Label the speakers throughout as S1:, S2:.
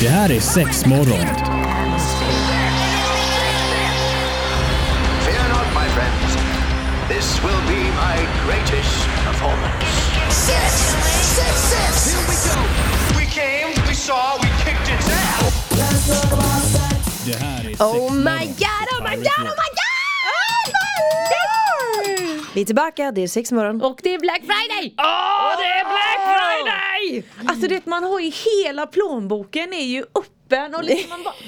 S1: Det här är sex morgon.
S2: Fear not, my friends. This will be my greatest performance.
S3: Six, six, six. Here we go.
S2: We came, we saw, we kicked its ass.
S1: Det här är
S4: Oh my god, oh my god, oh my god!
S5: Vi är tillbaka, det är sex morgon.
S4: Och det är Black Friday! Åh, det är Black Friday!
S6: Alltså det man har ju hela plånboken är ju öppen och liksom man bara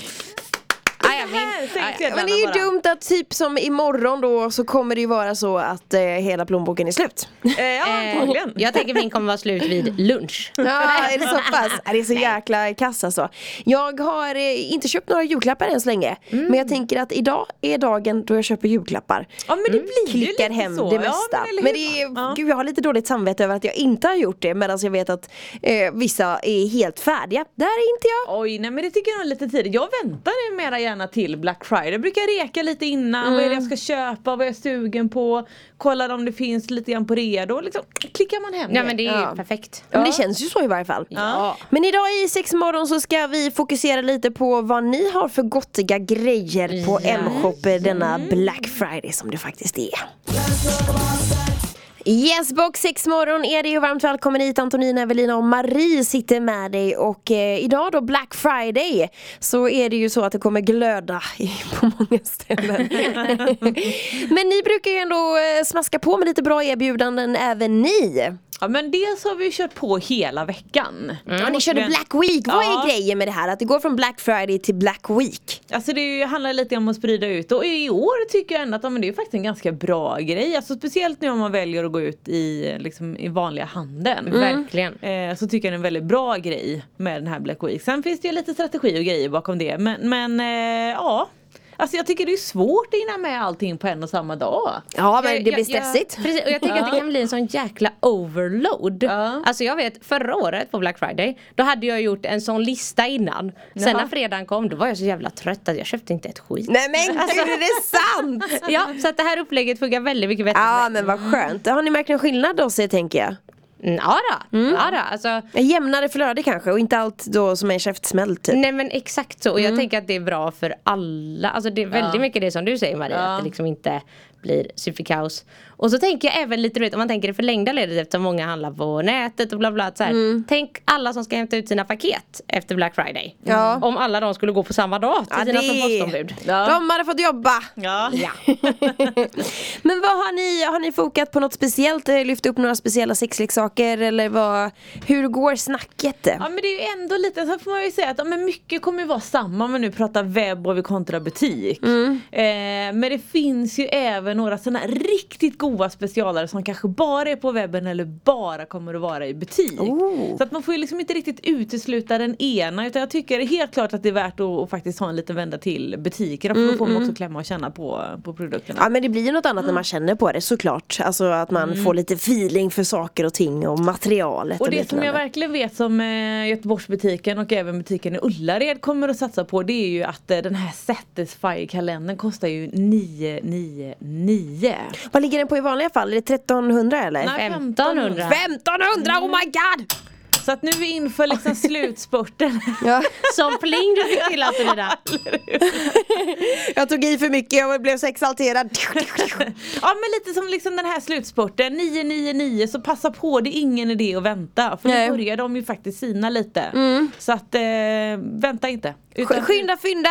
S4: Ah, jag
S6: här,
S4: min-
S6: tänk
S4: ah,
S6: till.
S4: ja.
S5: Men det är ju
S6: Bara.
S5: dumt att typ som imorgon då så kommer det ju vara så att eh, hela plånboken är slut.
S6: eh, ja antagligen.
S4: Eh, Jag tänker min kommer vara slut vid lunch.
S5: Ja, är det så pass? Ja, Det är så jäkla kass alltså. Jag har eh, inte köpt några julklappar än så länge. Men jag tänker att idag är dagen då jag köper julklappar.
S6: Mm.
S5: Mm.
S6: Ja men det blir ju
S5: Klickar
S6: lite
S5: hem
S6: så.
S5: det mesta.
S6: Ja,
S5: men
S6: eller
S5: det
S6: hur?
S5: är,
S6: ja.
S5: gud, jag har lite dåligt samvete över att jag inte har gjort det. Medan jag vet att eh, vissa är helt färdiga. Där är inte jag.
S6: Oj nej men det tycker jag är lite tidigt. Jag väntar numera gärna till Black Friday. Jag brukar reka lite innan. Vad är det jag ska
S4: Mm.
S6: köpa? Vad är jag sugen på? Kollar om det finns lite grann på redo. Liksom, klickar man hem
S4: Ja men det är ju
S5: Ja.
S4: perfekt.
S5: Men det känns ju så i varje fall.
S6: Ja.
S5: Men idag i sex morgon så ska vi fokusera lite på vad ni har för gottiga grejer på
S6: Mm.
S5: M-shop denna Black Friday som det faktiskt är. Yes box 6 morgon är det ju varmt välkommen hit Antonina, Evelina och Marie sitter med dig och eh, idag då Black Friday så är det ju så att det kommer glöda i- på många ställen. Men ni brukar ju ändå eh, smaska på med lite bra erbjudanden även ni.
S6: ja men dels har vi ju kört på hela veckan.
S4: Mm.
S5: Ja, ni körde
S6: Men-
S5: Black Week. Vad
S6: Ja.
S5: är grejen med det här? Att det går från Black Friday till Black Week?
S6: Alltså det är ju- handlar lite om att sprida ut och i år tycker jag ändå att ja, men det är faktiskt en ganska bra grej. Alltså speciellt nu om man väljer att gå ut i, liksom, i vanliga handeln.
S4: Verkligen.
S6: Eh, så tycker jag det är en väldigt bra grej med den här Black Week. Sen finns det ju lite strategi och grejer bakom det men, men eh, ja. Alltså jag tycker det är svårt att hinna med allting på en och samma dag.
S5: Ja, men
S4: Jag-
S5: det blir
S4: jag-
S5: stressigt.
S4: Jag, precis, och jag tänker att det kan bli en sån jäkla overload.
S6: Ja.
S4: Alltså jag vet förra året på Black Friday, då hade jag gjort en sån lista innan. Sen när fredagen kom, då var jag så jävla trött att jag köpte inte ett skit.
S5: Nej men
S4: Alltså-
S5: gud, är det sant?
S4: Ja, så att det här upplägget funkar väldigt mycket bättre.
S5: Ja
S4: för mig.
S5: men vad skönt. Har ni märkt någon skillnad då sig tänker jag?
S4: Mm, ja då, ja då. Alltså,
S5: En Jämnare flöde kanske och inte allt då som är käftsmäll typ.
S4: Nej men exakt så och
S5: Mm.
S4: jag tänker att det är bra för alla. Alltså det är väldigt mycket det som du säger Maria. Att det liksom inte blir superkaos. Och så tänker jag även lite du vet om man tänker det förlängda ledet eftersom många handlar på nätet och bla bla. Så här.
S5: Mm.
S4: Tänk alla som ska hämta ut sina paket efter Black Friday.
S5: Ja.
S4: Om alla de skulle gå på samma dag till
S5: Ja,
S4: sina
S5: det-
S4: som postombud.
S5: De hade fått jobba.
S6: Ja.
S5: men vad har ni, har ni fokat på något speciellt? Eh, Lyft upp några speciella sexleksaker eller vad? Hur går snacket?
S6: Ja men det är ju ändå lite, så får man ju säga att ja, men mycket kommer ju vara samma om vi nu pratar webb och vi kontra butik. Eh, men det finns ju även några sådana här riktigt goda specialare som kanske bara är på webben eller bara kommer att vara i butik. Så att man får ju liksom inte riktigt utesluta den ena utan jag tycker helt klart att det är värt att, att faktiskt ha en liten vända till butikerna för då får man också klämma och känna på, på produkterna.
S5: Ja men det blir ju något annat när man känner på det såklart. Alltså att man får lite feeling för saker och ting och materialet.
S6: Och det som
S5: liknande.
S6: jag verkligen vet som eh, Göteborgsbutiken och även butiken i Ullared kommer att satsa på det är ju att eh, den här Satisfyer-kalendern kostar ju 999.
S5: Vad ligger den på i vanliga fall? Är det 1300 eller?
S6: Nej,
S4: 1500.
S5: 1500 oh my god!
S6: Så att nu är vi inför liksom slutspurten.
S5: Ja,
S4: Som pling du fick till Antonina.
S5: jag tog i för mycket, jag blev så exalterad.
S6: ja men lite som liksom den här slutspurten, 999 så passa på, det är ingen idé att vänta. För
S5: Nej.
S6: nu börjar de ju faktiskt sina lite. Så att eh, vänta inte.
S5: Sk- Skynda fynda!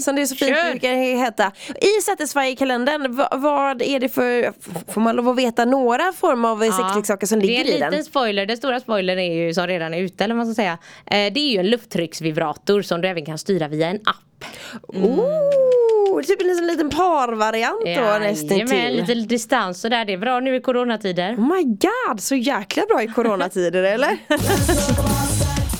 S5: Som det är så fint
S6: Kör.
S5: brukar heta. I Satisfyer-kalendern, v- vad är det för, f- får man lov att veta några form av ja. sexleksaker som ligger
S4: Det är
S5: i
S4: en
S5: den?
S4: liten spoiler, den stora spoilern är ju som redan är ute eller vad man ska säga. Eh, Det är ju en lufttrycksvibrator som du även kan styra via en app.
S5: Oh, typ en liten, liten parvariant då
S4: Jajamän,
S5: nästintill.
S4: lite distans så där det är bra nu i coronatider.
S5: Oh my god, så jäkla bra i coronatider eller?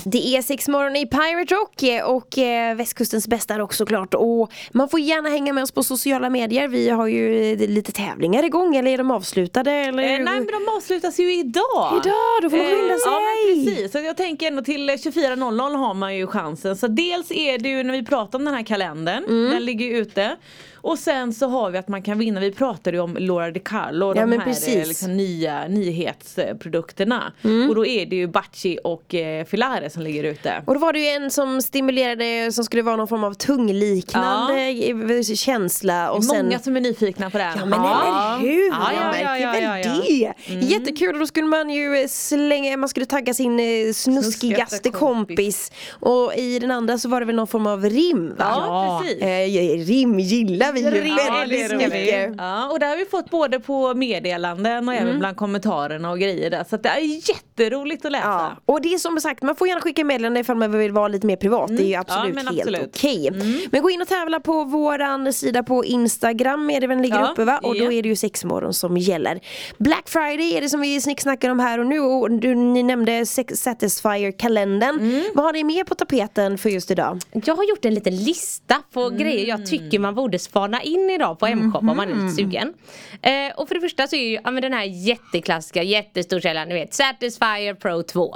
S5: Det är sex morgon i Pirate Rock eh, och eh, västkustens bästa rock såklart. Och man får gärna hänga med oss på sociala medier. Vi har ju eh, lite tävlingar igång eller är de avslutade? Eller?
S6: Eh, nej men de avslutas ju idag! Eh,
S5: Idag, då får man skynda
S6: Ja men
S5: sig.
S6: precis, så jag tänker ändå till eh,
S5: Mm.
S6: 24.00 har man ju chansen. Så dels är det ju när vi pratar om den här kalendern, den ligger ju ute. Och sen så har vi att man kan vinna, vi pratade ju om Laura de Carlo och
S5: Ja,
S6: de
S5: men
S6: här
S5: precis. Mm.
S6: eh, liksom, nya nyhetsprodukterna. Och då är det ju Bacci och eh, Filare som ligger ute.
S5: Och då var det ju en som stimulerade som skulle vara någon form av tungliknande eh, känsla och sen
S6: Många som är nyfikna på det här.
S5: Ja men eller hur!
S6: Ja, ja,
S5: jag
S6: ja,
S5: märker
S6: ja,
S5: väl
S6: ja, ja. Mm.
S5: det! Jättekul och då skulle man ju eh, slänga, man skulle tagga sin eh, snuskigaste
S6: Snuskigaste
S5: kompis.
S6: kompis.
S5: Och i den andra så var det väl någon form av rim va?
S6: Ja, precis.
S5: Eh, rim gillar vi ju
S6: Ring
S5: väldigt
S6: det roligt.
S5: mycket.
S6: Ja, och det har vi fått både på meddelanden och även bland kommentarerna och grejer där. Så att det är jätteroligt att läsa.
S5: Ja. Och det är som sagt, man får gärna skicka meddelanden ifall man vill vara lite mer privat. Det är ju
S6: Mm. Ja,
S5: absolut
S6: men
S5: helt
S6: absolut. Mm.
S5: okej. Men gå in och tävla på våran sida på Instagram är det väl den ligger
S6: Ja,
S5: uppe va? Och då
S6: ja.
S5: är det ju sexmorgon som gäller. Black Friday är det som vi snicksnackar om här och nu och du, ni nämnde sex Satisfyer-kalendern.
S6: Mm.
S5: Vad har ni mer på tapeten för just idag?
S4: Jag har gjort en liten lista på
S5: Mm.
S4: grejer jag tycker man borde spana in idag på M-shop om man är
S5: Mm.
S4: lite sugen. Eh, och för det första så är ju ja, men den här jätteklassiska, jättestor källan, ni vet Satisfyer Pro 2.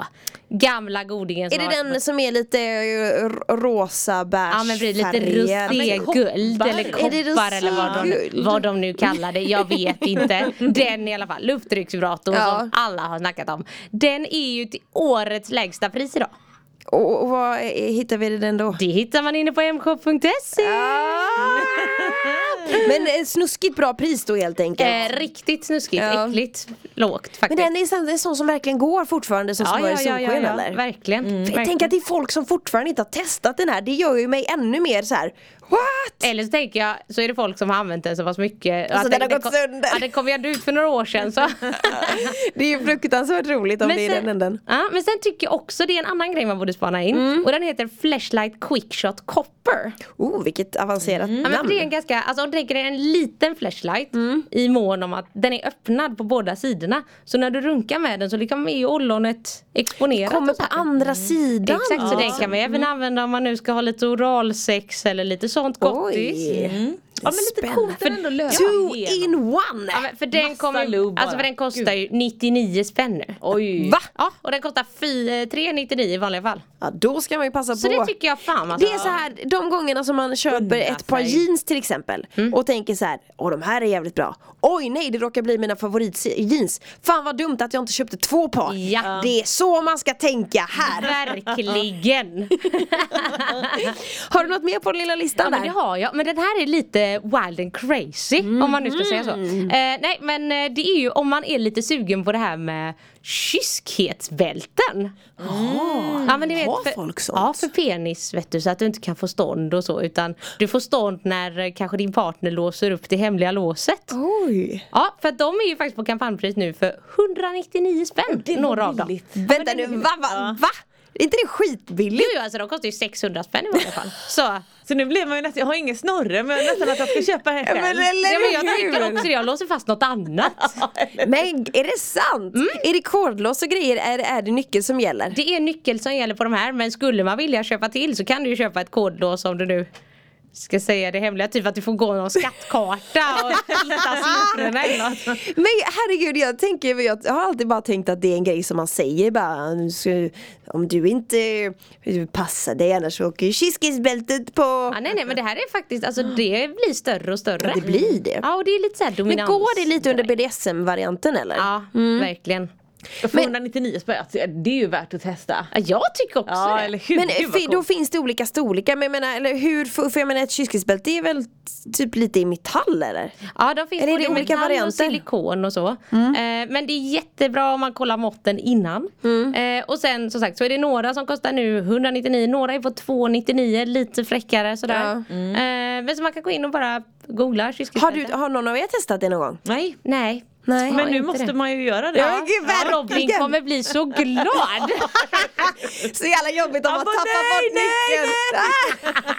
S4: Gamla godingen som
S5: är
S4: har
S5: det
S4: varit-
S5: den som är lite eh, rosa bärs
S4: Ja men precis, lite
S5: färgad?
S4: roséguld
S6: koppar.
S4: eller
S5: Är det
S4: koppar eller vad de,
S5: roséguld?
S4: vad de nu kallar det, jag vet inte. Den i alla fall, luftdrycksvibratorn
S5: Ja.
S4: som alla har snackat om. Den är ju till årets lägsta pris idag.
S5: Och, och vad eh, hittar vi den då?
S4: Det hittar man inne på mshop.se. Ah!
S5: Men eh, snuskigt bra pris då helt enkelt.
S4: Eh, riktigt snuskigt,
S5: Ja.
S4: äckligt, lågt
S5: Men
S4: faktiskt.
S5: den är sån, det är sån som verkligen går fortfarande som smör i solsken eller? Mm.
S4: verkligen.
S5: Jag
S4: verkligen.
S5: tänker att det är folk som fortfarande inte har testat den här, det gör ju mig ännu mer så här. What?
S4: Eller så tänker jag, så är det folk som har använt den så pass mycket.
S5: Alltså,
S4: att
S5: den har
S4: det
S5: gått
S4: kom-
S5: sönder.
S4: Ja, den kom ju ändå ut för några år sedan så.
S5: Det är ju fruktansvärt roligt om det är den änden. Mm.
S4: ja, men sen tycker jag också det är en annan grej man borde spana in. Och den heter Flashlight Quickshot Copper.
S5: Oh, vilket avancerat
S4: Mm. Ja, men
S5: namn.
S4: för det är en ganska, alltså om du tänker dig en liten flashlight
S5: Mm.
S4: i mån om att den är öppnad på båda sidorna. Så när du runkar med den så liksom är ju ollonet exponerat.
S5: Kommer Mm.
S4: och så
S5: på
S4: här.
S5: andra sidan.
S4: Mm. Exakt, så
S5: Ja.
S4: den kan man även använda om man nu ska ha lite oralsex eller lite sånt gottis. Mm.
S5: Oj.
S6: Ja, men lite
S5: Spännande.
S6: coolt att ändå lösa
S5: Two
S6: igenom.
S5: in one!
S4: Ja, men för den,
S6: Massa
S4: kommer, ju-
S6: lugg bara.
S4: alltså för den kostar ju 99 spänn nu.
S6: Oj.
S5: Va?
S4: Ja, och den kostar fy- 399 i vanliga fall.
S5: Ja, då ska man ju passa
S4: Så
S5: på.
S4: det tycker jag fan alltså.
S5: Det är så här, de gångerna som man köper
S6: Unna
S5: ett par
S6: sig.
S5: jeans till exempel
S4: Mm.
S5: och tänker så här, åh de här är jävligt bra. Oj nej, det råkar bli mina favoritjeans. Fan vad dumt att jag inte köpte två par.
S4: Ja.
S5: Det är så man ska tänka här.
S4: Verkligen!
S5: Har du något mer på den lilla listan
S4: ja, men
S5: där?
S4: det har jag. Men den här är lite wild and crazy om man nu ska säga så.
S5: Mm.
S4: Eh, nej men eh, det är ju om man är lite sugen på det här med kyskhetsbälten. Ja, men ni vet,
S5: Har
S4: för,
S5: folk sånt?
S4: Ja, för penis vet du så att du inte kan få stånd och så utan du får stånd när eh, kanske din partner låser upp det hemliga låset.
S5: Oj.
S4: Ja, för att de är ju faktiskt på kampanjpris nu för 199 spänn, några av dem.
S5: Vänta nu, va? va, va? Är inte det
S4: Jo,
S5: skitbilligt?
S4: jo, alltså de kostar ju 600 spänn i varje fall. Så
S6: Så nu blev man ju nästan, jag har ingen snorre men nästan att jag ska köpa här själv.
S5: Men,
S4: Ja, men jag
S5: eller
S4: tänker också
S5: hur?
S4: det, jag låser fast något annat. Mm.
S5: men är det sant? Är det kodlås och grejer? Är, är det nyckel som gäller?
S4: Det är nyckel som gäller på de här men skulle man vilja köpa till så kan du ju köpa ett kodlås om du nu ska säga det hemliga, typ att du får gå någon skattkarta och hitta siffrorna eller något.
S5: Men herregud, jag, tänker, jag har alltid bara tänkt att det är en grej som man säger bara "Nu ska- Om du inte passar dig annars så åker ju kiskisbältet på
S4: Ja, nej nej men det här är faktiskt, alltså det blir större och större.
S5: Ja, det blir det.
S6: Mm.
S4: Ja och det är lite såhär
S5: Men
S4: dominans.
S5: går det lite Mm. under BDSM-varianten eller?
S4: Ja, verkligen.
S6: För 199 spänn, alltså, det är ju värt att testa.
S4: Ja, jag tycker också
S6: Ja
S4: det.
S6: eller hur,
S5: Men
S6: Gud, vad
S5: fi- då
S6: coolt.
S5: finns det olika storlekar, men jag menar, eller hur, för, för jag menar ett kiskisbälte är väl typ lite i metall eller?
S4: Ja, de finns
S5: Eller är
S4: både
S5: det
S4: i
S5: olika
S4: metall och
S5: varianter? Mm.
S4: silikon och så. Eh, men det är jättebra om man kollar måtten innan.
S5: Mm.
S4: Eh, och sen som sagt så är det några som kostar nu 199, några är på 299, lite fräckare sådär.
S6: Mm.
S4: Eh, men så man kan gå in och bara googla
S5: Har,
S4: kyrkskriftstälte.
S5: du, har någon av er testat det någon gång?
S6: Nej.
S4: Nej.
S5: Nej.
S6: Men
S4: Ja,
S6: nu
S4: inte
S6: måste
S4: det.
S6: man ju göra det.
S5: Ja, gud,
S4: Ja, Robin
S5: verkligen.
S4: kommer bli så glad!
S5: Så jävla jobbigt om man
S6: bara,
S5: tappar
S6: nej,
S5: bort
S6: nej,
S5: nyckeln!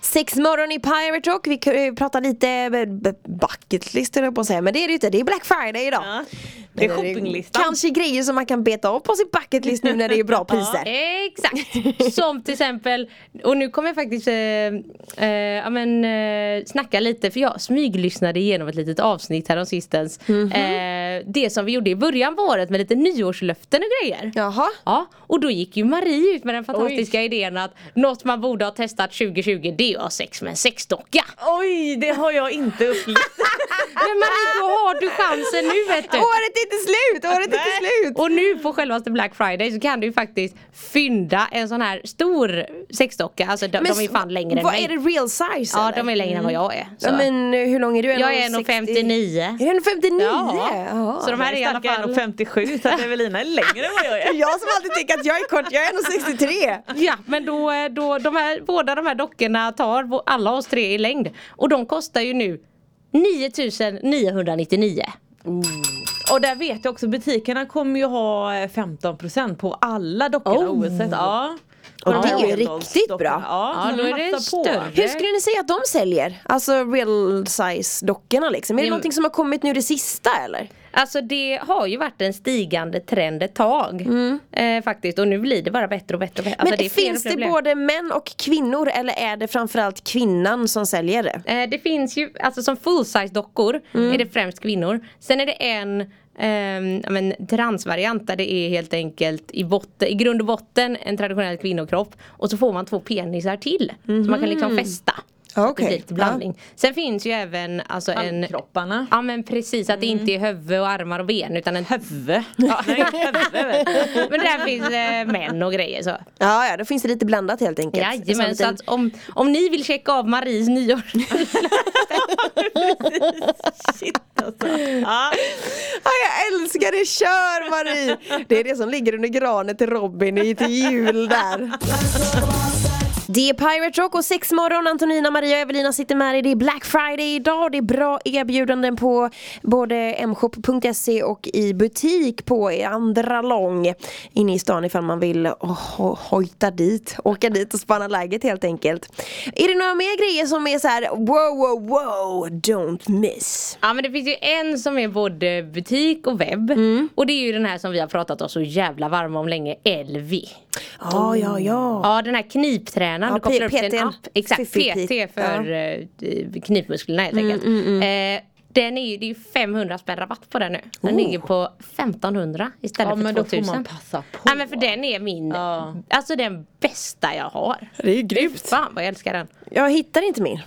S5: Sex morgon i Pirate Rock, vi k- eh, pratar lite b- b- bucket list höll jag på att säga men det är det ju inte, det är Black Friday idag.
S6: Ja. Det är
S5: Men
S6: shoppinglistan.
S5: Kanske grejer som man kan beta av på sin bucket list nu när det är bra priser.
S4: Exakt! Som till exempel, och nu kommer jag faktiskt eh, eh, ja, men, eh, snacka lite för jag smyglyssnade igenom ett litet avsnitt häromsistens. eh, det som vi gjorde i början på året med lite nyårslöften och grejer.
S5: Jaha.
S4: Ja, och då gick ju Marie ut med den fantastiska idén att något man borde ha testat 2020 det är att ha sex med en sexdocka.
S6: Oj, det har jag inte upplevt.
S4: Men Marie, då har du chansen nu vet du.
S5: Året är inte slut! Året är inte slut!
S4: Och nu på självaste Black Friday så kan du ju faktiskt fynda en sån här stor sexdocka. Alltså de, de är ju fan längre än
S5: Vad
S4: mig.
S5: är det real size
S4: Ja,
S5: eller?
S4: de är längre än vad jag är. Så.
S5: Ja, men eh, hur lång är du?
S4: jag är
S5: 1,60?
S4: 1,59.
S5: Är du 1,59?
S4: Ja.
S5: Jaha.
S4: Så de här är i alla
S6: Stackaren
S4: fall...
S6: och 57 så att Evelina är längre än vad jag är.
S5: Jag som alltid tänker att jag är kort, jag är 1,63!
S4: Ja men då, då de här, båda de här dockorna tar vå- alla oss tre i längd och de kostar ju nu 9999
S6: Och där vet jag också butikerna kommer ju ha eh, 15% på alla dockorna
S4: Oh.
S6: oavsett. Ja.
S5: Och
S6: Ja,
S5: det är ju
S6: Randalls
S5: riktigt
S6: dockorna.
S5: bra.
S6: Ja,
S4: Ja,
S6: så
S4: då är
S6: man
S4: det
S6: passar på.
S4: större.
S5: Hur skulle ni säga att de säljer? Alltså real size dockorna liksom. Är det
S4: Det-
S5: någonting som har kommit nu det sista eller?
S4: Alltså det har ju varit en stigande trend ett tag eh, faktiskt och nu blir det bara bättre och bättre. och bättre. Alltså
S5: Mm. Men
S4: är fler och
S5: finns
S4: fler
S5: det
S4: och fler.
S5: både män och kvinnor eller är det framförallt kvinnan som säljer det?
S4: Eh, det finns ju, alltså som full-size dockor är det främst kvinnor. Sen är det en ehm, ja, men, transvariant där det är helt enkelt i, botten, i grund och botten en traditionell kvinnokropp. Och så får man två penisar till. Så man kan liksom fästa. Så att
S5: Okej,
S4: Det blir lite blandning. Sen finns ju även alltså, en...
S6: Handkropparna.
S4: Ja men precis, att det inte är huvud och armar och ben utan en...
S6: Höve. Nej, höve. vet du.
S4: men där finns eh, män och grejer så.
S5: Ja, ja, då finns det lite blandat helt enkelt. Som en
S4: Jajamän, så
S5: liten-
S4: att om, om ni vill checka av Maries nyår
S6: Shit alltså. Ja.
S5: Ja, jag älskar det, kör Marie! Det är det som ligger under granen till Robin i till jul där. Det är Pirate Rock och sexmorgon, Antonina, Maria och Evelina sitter med dig. Det är Black Friday idag, det är bra erbjudanden på både mshop.se och i butik på andra lång inne i stan ifall man vill ho- hojta dit, åka dit och spana läget helt enkelt. Är det några mer grejer som är så här: wow, wow, wow, don't miss?
S4: Ja men det finns ju en som är både butik och webb.
S6: Mm.
S4: Och det är ju den här som vi har pratat oss så jävla varma om länge, Elvi.
S5: Ja, ja, ja.
S4: Ja den här kniptränaren,
S5: Ja,
S4: du kopplar upp
S5: P-
S4: till en
S5: PT.
S4: app. Exakt,
S5: Fiffi-pi.
S4: PT för eh, knipmusklerna helt
S6: Mm,
S4: enkelt. Eh, den är ju, det är ju 500 spänn rabatt på den nu. Den ligger på 1500
S6: Oh.
S4: istället
S6: Ja,
S4: för
S6: men
S4: 2000.
S6: då får man passa på.
S4: Ja men för den är min,
S6: Ja.
S4: alltså den bästa jag har.
S5: Det är ju grymt.
S4: Fan vad jag älskar den.
S5: Jag hittar inte min.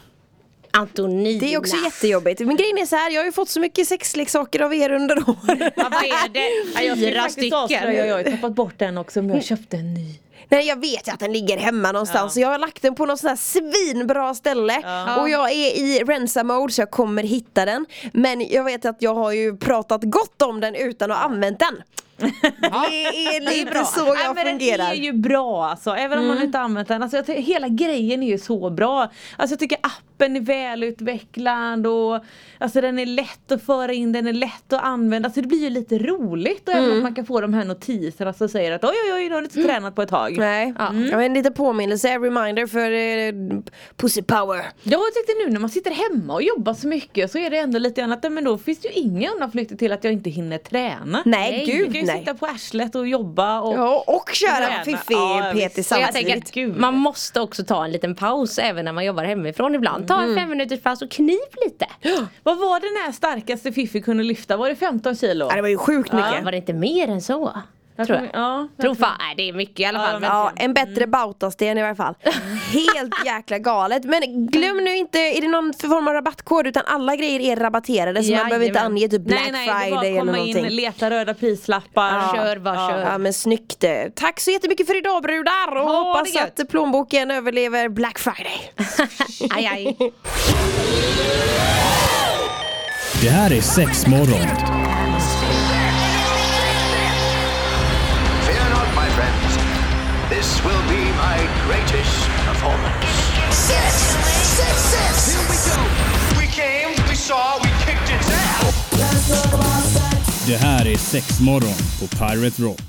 S4: Antonina.
S5: Det är också jättejobbigt. Men grejen är så här, jag har ju fått så mycket sexleksaker av er under åren.
S4: Ja, vad är det? Ja, jag ska
S6: Fyra
S4: faktiskt
S6: stycken.
S4: avslöja,
S6: Jag har ju tappat bort den också men jag köpte en ny.
S5: Nej jag vet ju att den ligger hemma någonstans så jag har lagt den på något sånt här svinbra ställe och jag är i rensa mode så jag kommer hitta den Men jag vet att jag har ju pratat gott om den utan att ha använt den Det är lite så jag
S6: Nej, men
S5: fungerar Mm.
S6: Den är ju bra alltså, även om man inte använt den. Alltså, jag tycker, hela grejen är ju så bra. Alltså, jag tycker appen är välutvecklad och alltså, den är lätt att föra in, den är lätt att använda. Alltså, det blir ju lite roligt och även
S5: Mm.
S6: att man kan få de här notiserna som säger att oj oj oj, nu har du inte tränat på ett tag. Mm.
S5: Nej, ja. en liten påminnelse, reminder för eh, Pussy Power
S6: Jag tyckte nu när man sitter hemma och jobbar så mycket så är det ändå lite grann att men då finns det ju inga undanflykter till att jag inte hinner träna.
S5: Nej, gud,
S6: Du kan ju
S5: nej.
S6: sitta på arslet och jobba och
S5: Ja, och köra
S6: Träna.
S5: fiffig
S6: Ja,
S5: PT
S6: visst.
S4: Så jag tänker
S5: samtidigt
S4: att
S6: Gud.
S4: man måste också ta en liten paus även när man jobbar hemifrån ibland. Ta en fem minuters paus och knip lite.
S6: Vad var den här starkaste Fiffi kunde lyfta? Var det 15 kilo?
S5: Ja, det var ju sjukt mycket
S4: Var det inte mer än så?
S6: Jag
S4: tror
S6: kommer-
S4: jag.
S6: Ja, jag
S4: Tror fan, nej, det är mycket i alla fall. men-
S5: Ja, en bättre
S6: Mm.
S5: bautasten i varje fall. Helt jäkla galet. Men glöm nu inte, är det någon form av rabattkod utan alla grejer är rabatterade så man
S4: Jajamän.
S5: behöver inte ange typ Black
S6: nej, nej, det var
S5: Friday
S6: bara
S5: eller
S6: komma in,
S5: någonting.
S6: leta röda prislappar.
S4: Ja. Kör, bara kör.
S5: Ja men snyggt. Tack så jättemycket för idag brudar och
S4: Ha det
S5: hoppas
S4: gött.
S5: att plånboken överlever Black Friday.
S4: aj, aj.
S1: Det här är sex morgon.
S2: Fear not, my friends. This will be my greatest performance.
S3: Six, six, six. Here we go.
S2: We came, we saw, we kicked it down.
S1: Det här är sex morgon på Pirate Rock.